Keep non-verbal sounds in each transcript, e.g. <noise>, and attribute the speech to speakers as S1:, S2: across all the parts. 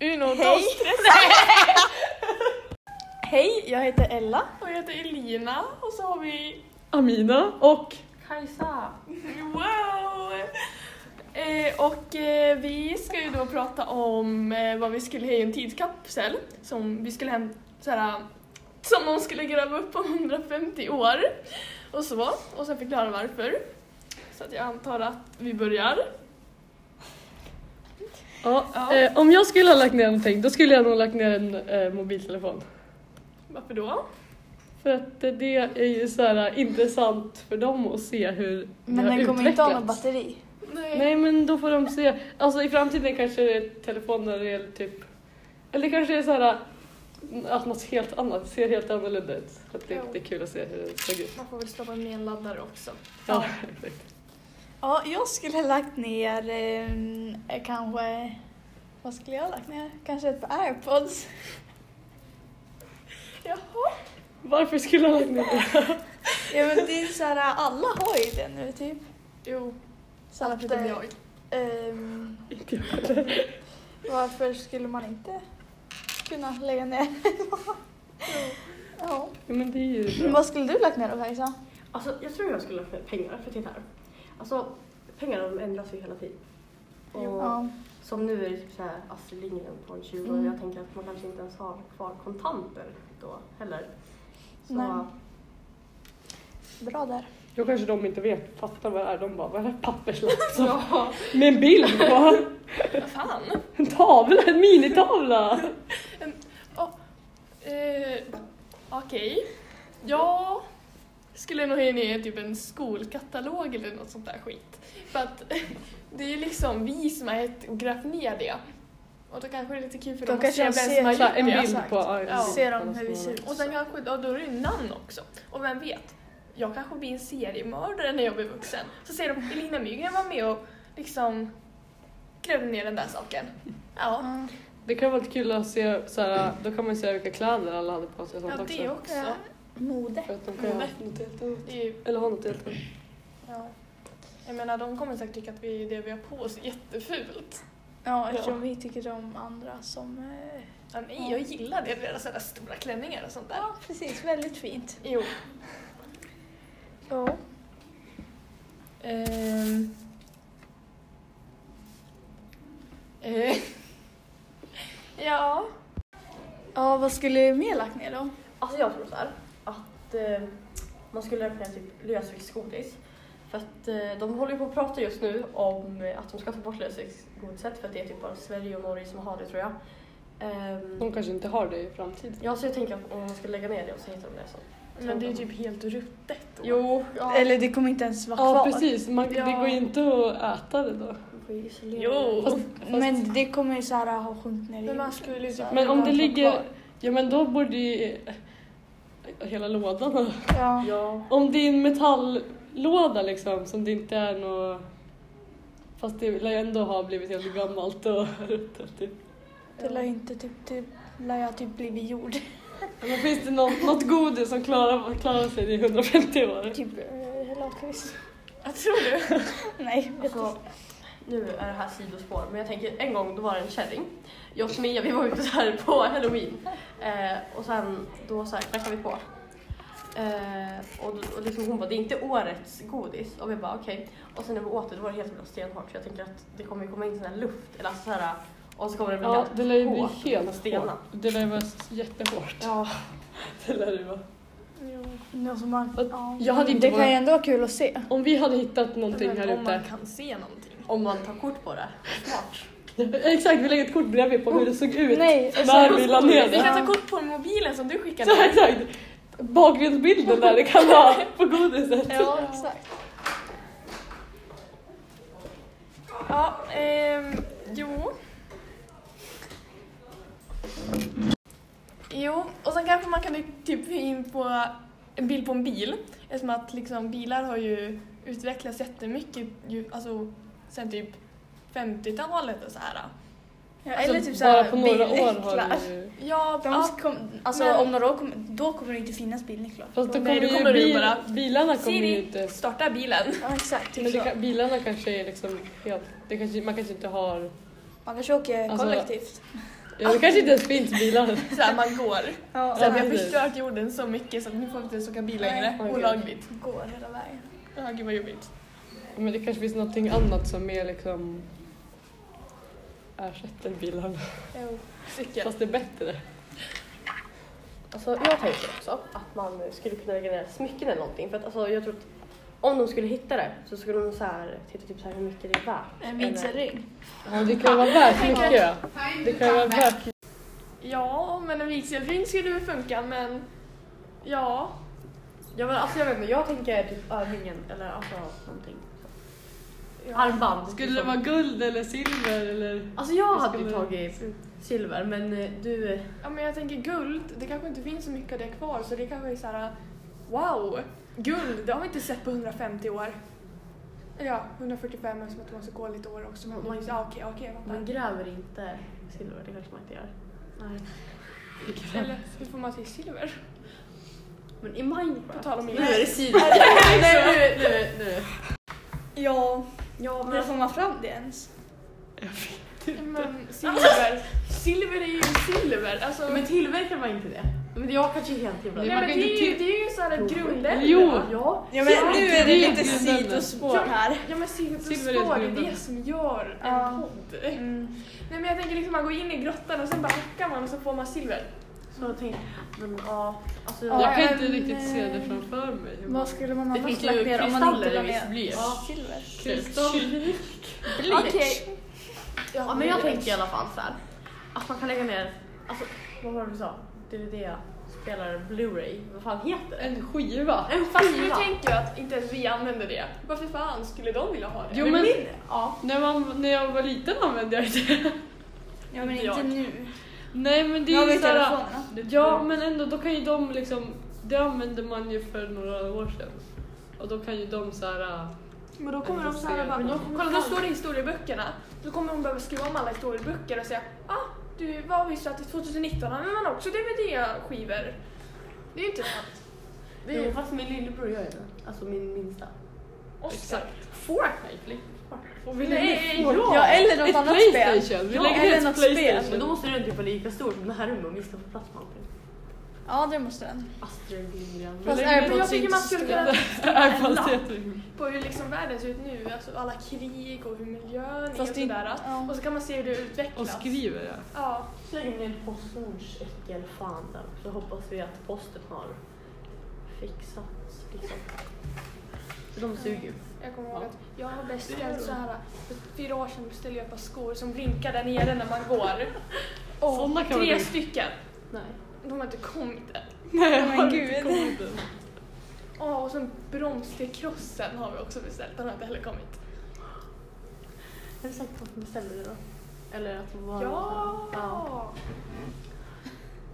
S1: Uno,
S2: Hej.
S1: dos, tres. <laughs>
S2: Hej, jag heter Ella.
S1: Och jag heter Elina och så har vi
S3: Amina och
S1: Kajsa. Wow! Eh, och eh, vi ska ju då prata om eh, vad vi skulle ha i en tidskapsel som vi skulle hem, såhär, som någon skulle gräva upp om 150 år och så och sen förklara varför. Så att jag antar att vi börjar.
S3: Ja,
S1: Ja.
S3: Eh, om jag skulle ha lagt ner någonting då skulle jag nog ha lagt ner en eh, mobiltelefon.
S1: Varför då?
S3: För att eh, det är ju så här eh, intressant för dem att se hur
S2: Men
S3: det har
S2: den kommer
S3: utvecklats.
S2: inte ha något batteri.
S3: Nej men då får de se. Alltså i framtiden kanske det är telefoner eller typ eller kanske det är så här eh, att något helt annat ser helt annorlunda ut. Så Att det,
S1: Jo.
S3: det är kul att se hur det såg ut.
S1: Man får väl stoppa med en laddare också.
S3: Ja,
S2: Ja.
S3: exakt.
S2: Ja, jag skulle ha lagt ner eh, kanske... Vad skulle jag ha lagt ner? Kanske ett par airpods.
S1: Jaha.
S3: Varför skulle jag ha lagt ner det? <laughs>
S2: Ja men det är så här, alla har ju det nu typ.
S1: Jo,
S2: Så att,
S1: förutom
S2: eh,
S1: typ jag.
S2: ehm,
S3: Inte jag heller.
S2: varför skulle man inte kunna lägga ner? ja.
S3: Men det är ju bra.
S2: Vad skulle du lagt ner då Kajsa?
S4: Alltså, jag tror jag skulle ha för pengar, för titta här. Alltså, pengar de ändras ju hela tiden. Och
S2: Ja.
S4: Som nu är det typ så här Astrid Lindgren på en 20 och
S2: Mm.
S4: jag tänker att man kanske inte ens har kvar kontanter då heller. Så,
S2: Nej. Bra där.
S3: Då kanske de inte vet, fattar vad det är. De bara, vad är det här
S2: <laughs>
S3: papperslapp som
S4: ja.
S3: Med en bild på.
S1: Vad fan.
S3: En tavla, en minitavla.
S1: Eh, Okej. Jag skulle nog ha ner typ en skolkatalog eller något sånt där skit. För att <laughs> det är ju liksom vi som har gett och grävt ner det. Och då kanske det är lite kul för
S2: Då
S1: dem att
S2: kanske
S1: se vem
S2: de ser
S1: som har
S2: så här,
S1: gjort
S3: En
S1: det.
S3: bild
S2: exakt.
S3: på. ja, en
S1: Ja.
S3: bild
S2: Ser
S3: på
S2: de
S3: alla
S2: hur vi
S3: små.
S2: ser ut.
S1: Och sen kanske, ja, då är det ju namn också. Och vem vet, jag kanske blir en seriemördare när jag blir vuxen. Så säger de Elina Mygren var med och liksom grävde ner den där saken. Ja,
S2: Ja.
S3: Det kan vara lite kul att se, så här, då kan man ju se vilka kläder alla hade på sig och sånt
S1: ja
S3: också.
S1: det också.
S2: Mode.
S3: För att de kan ha haft något helt annat.
S1: Det är ju
S3: Eller ha något helt annat.
S1: Ja. Jag menar, de kommer säkert tycka att vi, det vi har på oss är jättefult.
S2: Ja, eftersom vi tycker om andra som... Eh,
S1: Ja, nej, jag gillar det, deras sådana stora klänningar och sånt där.
S2: ja, precis. Väldigt fint.
S1: Jo.
S2: Ja.
S1: Ehm. Eh. <laughs> ja.
S2: Ja, vad skulle jag mer lagt ner då?
S4: Alltså jag tror så här, att eh, man skulle räkna typ lösviktsgodis. För att eh, de håller ju på att prata just nu om eh, att de ska ta bort lösviktsgodiset för att det är typ bara Sverige och Norge som har det tror jag. Ehm,
S3: De kanske inte har det i framtiden.
S4: Ja, så jag tänker att om man ska lägga ner det och så hittar de det så.
S1: Men det är ju typ helt ruttet då.
S4: Jo, ja.
S2: Eller det kommer inte ens vara
S3: Ja
S2: kvar.
S3: precis, man, det
S1: Ja.
S3: går ju inte att äta det då.
S4: Man får ju isolera
S1: Jo.
S4: det.
S3: Fast,
S2: Men det kommer ju så här ha sjunkit ner i
S1: Men man
S2: jorden.
S1: skulle ju
S2: Så
S1: typ-
S2: här,
S3: men om
S2: bara
S3: det
S2: vara
S3: ligger...
S2: kvar.
S3: Ja men då borde ju... Hela lådan ha
S2: Ja.
S4: Ja.
S3: Om det är en metalllåda liksom som det inte är nå Fast det lär ju ändå ha blivit helt gammalt och ruttet typ.
S2: Det lär ju inte typ... typ lär jag typ blivit jord. <laughs>
S3: Men finns det något, något godis som klarar, klarar sig i 150 år?
S2: typ eh, lakrits.
S1: Jag tror du?
S2: Nej, vet
S4: Alltså, nu är det här sidospår, men jag tänker en gång då var det en kärring. Jag och Mia vi var ute så här på halloween eh, och sen då så här knackade vi på. Eh, och, då- och liksom hon bara, det är inte årets godis. Och vi bara okej. Och sen när vi åt det då var det helt jävla stenhårt så jag tänker att det kommer ju komma in sån här luft eller alltså så här och så kommer det bli
S3: Ja,
S4: helt
S3: det lär ju bli
S4: hårt, liksom
S3: helt
S4: stenar.
S3: hårt. Det lär ju vara jättehårt.
S4: Ja,
S3: <laughs> Det lär ju vara.
S1: Jo.
S2: inte. Alltså man,
S3: Att-
S2: ja.
S3: jag hade inte
S2: det kan
S3: varit-
S2: ju ändå vara kul att se.
S3: Om vi hade hittat någonting
S1: Men
S3: här
S1: om man
S3: ute.
S1: kan se någonting.
S4: om man tar kort på det. Smart.
S3: <laughs> Exakt, vi lägger ett kort bredvid på hur det såg ut
S2: Nej,
S3: när vi la ner
S1: Alltså, Vi kan
S3: det.
S1: ta kort på mobilen som du skickade.
S3: <laughs> Så, exakt! Bakgrundsbilden där det kan vara på godiset.
S2: Ja, exakt.
S1: Ja, ehm, jo. Jo, och sen kanske man kan typ få in på en bild på en bil. Eftersom att liksom, bilar har ju utvecklats jättemycket ju, alltså, sen typ 50-talet och så här.
S2: Ja,
S3: Alltså,
S2: eller typ så
S3: bara
S2: här
S3: på några år
S2: bilnycklar.
S3: har det ju...
S1: Ja,
S2: De
S1: ja,
S2: kom, alltså
S1: men-
S2: om några år kommer, då kommer det inte finnas bilnycklar.
S3: Fast då
S1: Nej,
S3: kommer,
S1: då
S3: ju
S1: kommer det ju
S3: bil,
S1: bara-
S3: bilarna kommer ju
S1: Siri,
S3: inte...
S1: starta bilen. <laughs>
S2: Ja exakt, typ
S3: Men det,
S2: så.
S3: kan- bilarna kanske är liksom helt... Det kanske, man kanske inte har...
S2: Man kanske åker
S3: Alltså-
S2: kollektivt.
S3: Ja, det kanske inte ens finns bilar.
S1: Så här, man går.
S2: Ja,
S1: Så här, vi
S3: men
S1: har
S3: precis.
S1: förstört jorden så mycket så att nu får vi inte ens åka bil längre.
S3: Åh, gud.
S1: Olagligt.
S2: går hela vägen.
S1: Ja, gud vad jobbigt.
S3: Men det kanske finns någonting annat som mer liksom ersätter bilarna.
S2: Jo.
S1: Cykel.
S3: Fast det är bättre.
S4: Alltså, jag tänker också att man skulle kunna lägga ner smycken eller någonting. För att, alltså, jag tror att om de skulle hitta det så skulle de så här, titta typ så här hur mycket det är värt.
S2: En
S4: Eller-
S2: vigselring.
S3: Ja, det kan ju vara värt mycket. ja. Det kan ju vara värt
S1: Ja, men en vigselring skulle väl funka men ja.
S4: Ja, men, alltså, jag vet inte, jag tänker typ örhängen eller alltså, någonting. Armband.
S3: Skulle
S4: liksom.
S3: det vara guld eller silver eller?
S4: Alltså jag
S3: Det
S4: hade ju
S3: skulle-
S4: tagit silver men eh, du... eh,
S1: Ja men jag tänker guld, det kanske inte finns så mycket av det kvar så det kanske är så här wow, guld, det har vi inte sett på 150 år. Ja, 145 eftersom att det var så dåligt år också men man just, ja okej, okej, jag
S4: Man
S1: fattar.
S4: gräver inte silver, det kanske man inte gör. Nej.
S1: Eller hur får man till silver?
S4: Men i Minecraft...
S1: På tal om
S4: Nu
S1: Minecraft.
S4: <laughs> är det silver. Nej, nu, nu, nu.
S2: Ja,
S4: Ja, men
S2: hur
S4: alltså,
S2: får man fram det ens?
S1: Men Typ. <laughs> silver, silver är ju silver. Alltså,
S4: men tillverkar man inte det? Men jag kanske är helt jävla...
S1: nej,
S3: man
S1: men det,
S3: kan ju
S1: är ju,
S3: till-
S1: det är ju så här grundämne.
S3: Jo.
S1: va?
S4: Ja.
S2: Ja men nu
S3: det
S2: är det
S3: är
S2: lite
S3: ju grunden.
S2: sidospår här.
S1: Ja men silver,
S3: Silver är
S1: står,
S3: ett
S1: det är
S3: grundämne.
S1: det som gör en
S2: Ja.
S1: podd.
S2: Mm.
S1: Nej men jag tänker liksom man går in i grottan och sen bara hackar man och så får man silver.
S4: Så jag tänkte, men ja. Alltså,
S2: Ja,
S3: Jag kan
S2: men,
S3: inte riktigt se det
S2: eh,
S3: framför mig. hur man-
S2: Vad skulle man
S4: Det
S2: ha
S4: finns
S2: fast
S4: ju
S2: lagt ner om man inte
S4: kristaller
S2: la
S4: i viss
S2: ner
S4: bly.
S2: silver?
S3: Typ. Kristall.
S2: Okej.
S4: Ja, men jag tänker i alla fall så här. Att man kan lägga ner, alltså vad var det du sa? DVD, spelare, Blu-ray, vad fan heter det?
S3: En skiva.
S4: En
S1: Fast nu
S4: skiva.
S1: tänker jag att inte ens vi använder det. Varför fan skulle de vilja ha det?
S3: Jo
S1: Men
S3: men
S1: min- ja.
S3: när, man, när jag var liten använde jag
S2: <laughs>
S3: det.
S2: Ja men
S1: Jag-
S2: inte nu.
S3: Nej men det
S2: Nu har
S3: är
S2: vi
S3: ju såhär.
S2: telefonerna.
S3: Ja men ändå, då kan ju de liksom. Det använde man ju för några år sedan. Och då kan ju de såhär.
S1: Men då kommer de så här och bara,
S3: Men då-
S1: kolla nu står det i historieböckerna. Då kommer de behöva skriva om alla historieböcker och säga, ah, du, vad visste du att i 2019 använder man också DVD-skivor? Det är ju inte sant. Det är
S4: Jo,
S1: ju
S4: fast min lillebror gör ju det. Alltså min minsta.
S1: Oscar.
S3: Fortnite. Och vi
S1: Nej,
S3: lägger
S1: ja.
S2: Ja eller något
S3: Ett
S2: annat
S3: Playstation.
S2: spel.
S3: Vi
S2: Ja,
S3: lägger
S2: eller
S3: ett
S2: något
S3: Playstation.
S2: spel.
S4: Men då måste den typ vara lika stor som Hermo om vi ska få plats med allting.
S2: Ja det måste den.
S4: Astrid Lindgren.
S2: Fast
S3: lägger-
S1: Men jag
S2: airpods är
S1: tycker
S2: inte
S1: man
S2: så
S1: skulle
S2: stora.
S1: kunna
S3: <laughs> Är
S1: Snälla.
S3: fast jättemycket.
S1: på hur liksom världen ser ut nu, alltså alla krig och hur miljön är och
S2: Fast det är-
S1: sådär.
S2: ja.
S1: Och så kan man se hur det utvecklas.
S3: Och skriver ja.
S1: Ja.
S4: Släng ner postens äckelfan där så hoppas vi att posten har fixat liksom. För de suger ju.
S1: Jag kommer ihåg att jag har beställt så här för fyra år sedan beställde jag ett par skor som blinkar där nere när man går. Och
S3: Såna kan man
S1: tre
S3: bli-
S1: stycken.
S4: Nej.
S1: De har inte kommit än.
S3: Nej
S2: men gud.
S1: Ja, och sen broms till krossen har vi också beställt. Den har inte heller kommit.
S4: Är du säker på att de beställde det då? Eller att de var...
S1: Ja!
S4: ja!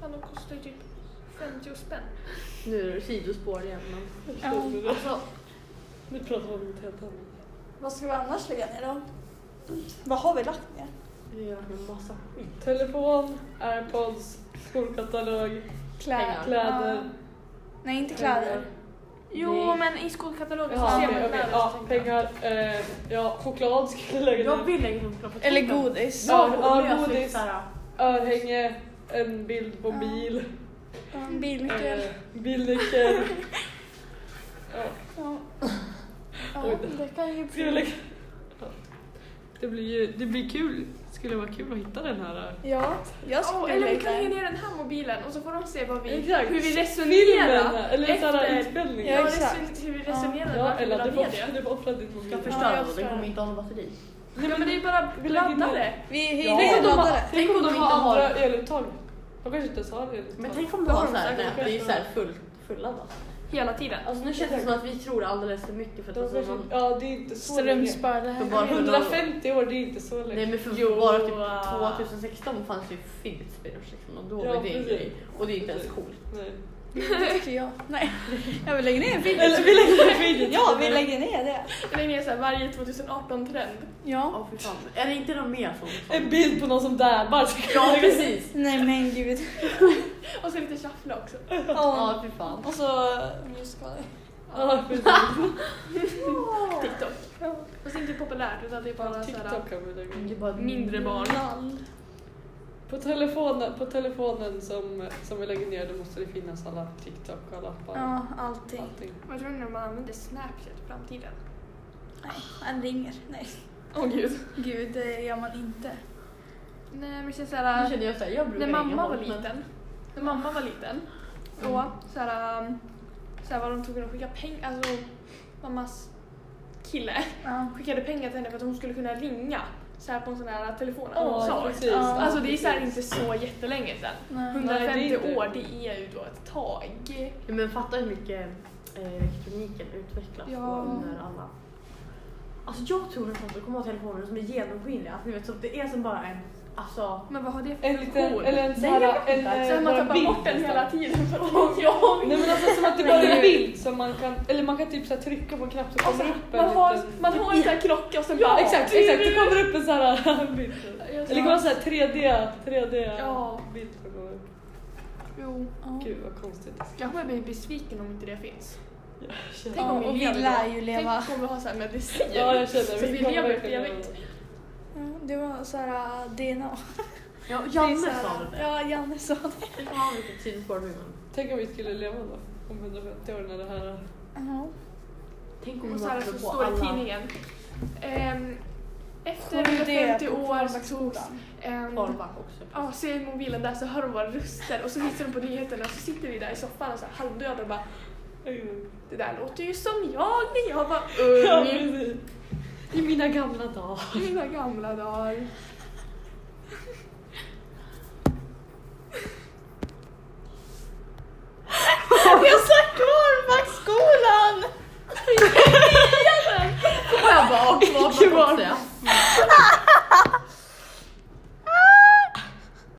S1: Fan, de kostar ju typ 50 spänn.
S4: Nu är det sidospår igen men...
S2: Ja.
S4: Alltså,
S3: Nu pratar vi om något helt annat.
S2: Vad ska vi annars lägga ner då? Vad har vi lagt ner?
S4: vi har en massa skit.
S3: Telefon, airpods, skolkatalog,
S4: Kläder.
S3: kläder.
S2: Nej inte kläder.
S1: Jo,
S4: Nej.
S1: men i skolkatalogen
S3: Ja,
S1: så ser
S3: okej,
S1: man
S3: okej,
S1: kläder.
S3: ja,
S1: tänkte jag.
S3: pengar. Eh, ja, choklad skulle jag lägga
S4: Jag
S3: ner.
S4: vill lägga hem choklad på
S2: Eller
S4: toppen.
S2: godis.
S4: Ja,
S3: Ja,
S4: ja, godis.
S3: godis. Örhänge, en bild på
S2: Ja.
S3: bil,
S2: Ja, en Bilnyckel.
S3: eh, bilnyckel. ja,
S2: Ja.
S3: Oj.
S2: ja, det kan ju
S3: skulle jag
S2: bli.
S3: lägga. Ja. Det blir ju, det blir kul. Skulle vara kul att hitta den här. eh,
S2: Ja, jag skulle
S1: Ja,
S2: oh,
S1: eller vi kan lägga
S2: lägga.
S1: ner den här mobilen och så får de se vad vi,
S3: Exakt.
S1: hur vi
S3: Filmen,
S1: resonerar.
S3: eller såhär
S1: efter-
S3: utbildningen.
S1: Ja,
S2: Ja,
S3: Ja,
S2: exakt.
S1: reson- hur vi resonerar. varför vi
S3: eller
S1: la
S3: att du
S1: ner
S3: får, du får offra din mobil.
S4: Jag
S1: Ja,
S4: förstör
S1: jag
S4: den och den
S1: förstör.
S4: kommer inte ha något batteri.
S1: Nej men det är bara
S3: Vi lägger ner-
S1: laddare.
S2: Vi hyr
S3: Tänk om
S2: en
S3: de har,
S2: laddare.
S3: tänk om de
S4: inte
S3: har
S4: har-
S3: andra eluttag. De kanske inte ens har eluttag.
S4: Men tänk om
S1: Då
S4: det
S1: har
S4: var
S1: de
S4: såhär
S1: säkert
S4: nät, det är
S1: skett
S4: såhär full, fulladdat.
S1: Hela tiden.
S4: Alltså nu känns det som att vi tror alldeles för mycket för att
S3: de
S4: alltså,
S3: kanske,
S4: man,
S3: ja, det är inte så länge.
S2: Strömsparade
S4: för
S2: här.
S4: bara
S3: 150 år, det är inte så
S4: Nej
S3: länge.
S4: men för
S1: Jo.
S4: bara typ 2016 fanns ju Philips Beers liksom och då
S3: Ja,
S4: var det en
S3: precis.
S4: grej. Och det är inte ens coolt.
S3: Nej.
S2: Det tycker jag. Nej, jag vill lägga ner en film.
S3: Eller vi lägger <laughs> ner videon.
S2: Ja, vi lägger ner det.
S1: Det är såhär varje 2018-trend.
S2: Ja.
S4: Ja fy fan. Är det inte någon mer som...
S3: En bild på någon som dabbar. så kan
S4: Ja
S3: vi lägga-
S4: precis!
S2: Nej men gud.
S1: Och så lite shuffla också.
S2: Ja.
S4: <laughs> Ja fy fan.
S2: Och så musical.
S3: Ja, precis.
S1: <laughs> TikTok. Fast inte populärt utan det är bara såhär
S3: TikTok kan vi lägga
S4: Det är
S3: in.
S4: bara
S1: mindre barn.
S2: Lall.
S3: På telefonen, på telefonen som, som vi lägger ner då måste det finnas alla TikTok och alla appar.
S2: Ja, allting.
S3: Allting.
S1: Vad tror ni om man använder Snapchat i framtiden?
S2: Nej, han ringer. Nej,
S1: Åh gud.
S2: gud, det gör man inte.
S1: Nej men det känns
S4: Nu
S1: såhär,
S4: känner jag såhär, jag brukar
S1: när mamma
S4: ringa
S1: var
S4: folk, men-
S1: liten, när mamma var liten, då såhär, um, såhär var de tvungna att skicka pengar, alltså mammas kille
S2: Ja.
S1: skickade pengar till henne för att hon skulle kunna ringa såhär på en sån här telefon.
S3: Ja,
S1: Så.
S3: precis.
S2: Ja.
S1: Alltså det är såhär inte så jättelänge sedan.
S2: Nej.
S3: Nej, det är
S1: 150
S3: inte-
S1: år, det är ju då ett tag.
S4: Ja, men fatta hur mycket eh, elektroniken utvecklas
S1: Ja.
S4: och under alla... Alltså jag tror nästan att det kommer att vara telefoner som är genomskinliga. Alltså, ni vet, så att det är som bara en... Alltså...
S1: Men vad har det
S3: En
S1: för <laughs>
S3: liten,
S1: funktion?
S3: eller en sån här, en,
S1: Så
S3: eh,
S1: här man
S3: bara
S1: tappar
S3: bild
S1: bort den
S3: nästan.
S1: hela tiden för att jag
S3: Nej men alltså som att det bara är en bild som man kan, eller man kan typ så här trycka på en knapp så kommer
S1: Alltså,
S3: upp en
S1: man har,
S3: liten...
S1: man har en sån här klocka och sen
S3: Ja
S1: bara...
S3: exakt, exakt, det kommer upp en sån här <laughs> bild.
S1: Jag
S3: Eller det kommer vara såhär 3D, 3D
S1: Ja.
S3: bild som kommer upp.
S1: Jo.
S2: Ja.
S3: Gud vad konstigt.
S1: Jag kommer bli besviken om inte det finns.
S3: Jag känner,
S1: Tänk om
S2: och vi
S1: lever
S2: lär
S1: då.
S2: ju leva.
S1: Tänk om vi har såhär medicin.
S3: ja jag känner,
S1: Så vi
S3: kommer
S1: lever för
S3: verkligen-
S1: evigt.
S2: Ja, Det var såhär äh, DNA.
S4: Ja,
S2: Det
S4: Janne
S2: är så
S4: sa
S2: här-
S4: det där.
S2: Ja, Janne sa det.
S4: Fan vilket sidospår nu men.
S3: Tänk om vi skulle leva då, om 150 år när det här...
S2: Ja.
S4: Tänk om
S1: Och
S4: man
S1: så här
S4: kommer
S1: så
S4: på
S1: står det i
S4: Mm, alla-
S1: tidningen. Ehm, efter
S2: Kommer det
S1: 150
S2: på
S1: år så togs...
S2: Kvarnbacksskolan?
S1: ehm,
S4: Korvback också.
S1: Ja, så är jag i mobilen där så hör de våra röster och så hittar de på nyheterna och så sitter vi där i soffan och så här halvdöda och bara Det där låter ju som jag när jag var
S3: Ja,
S1: ung.
S4: <laughs>
S3: precis. I mina gamla dagar.
S1: I mina gamla dagar.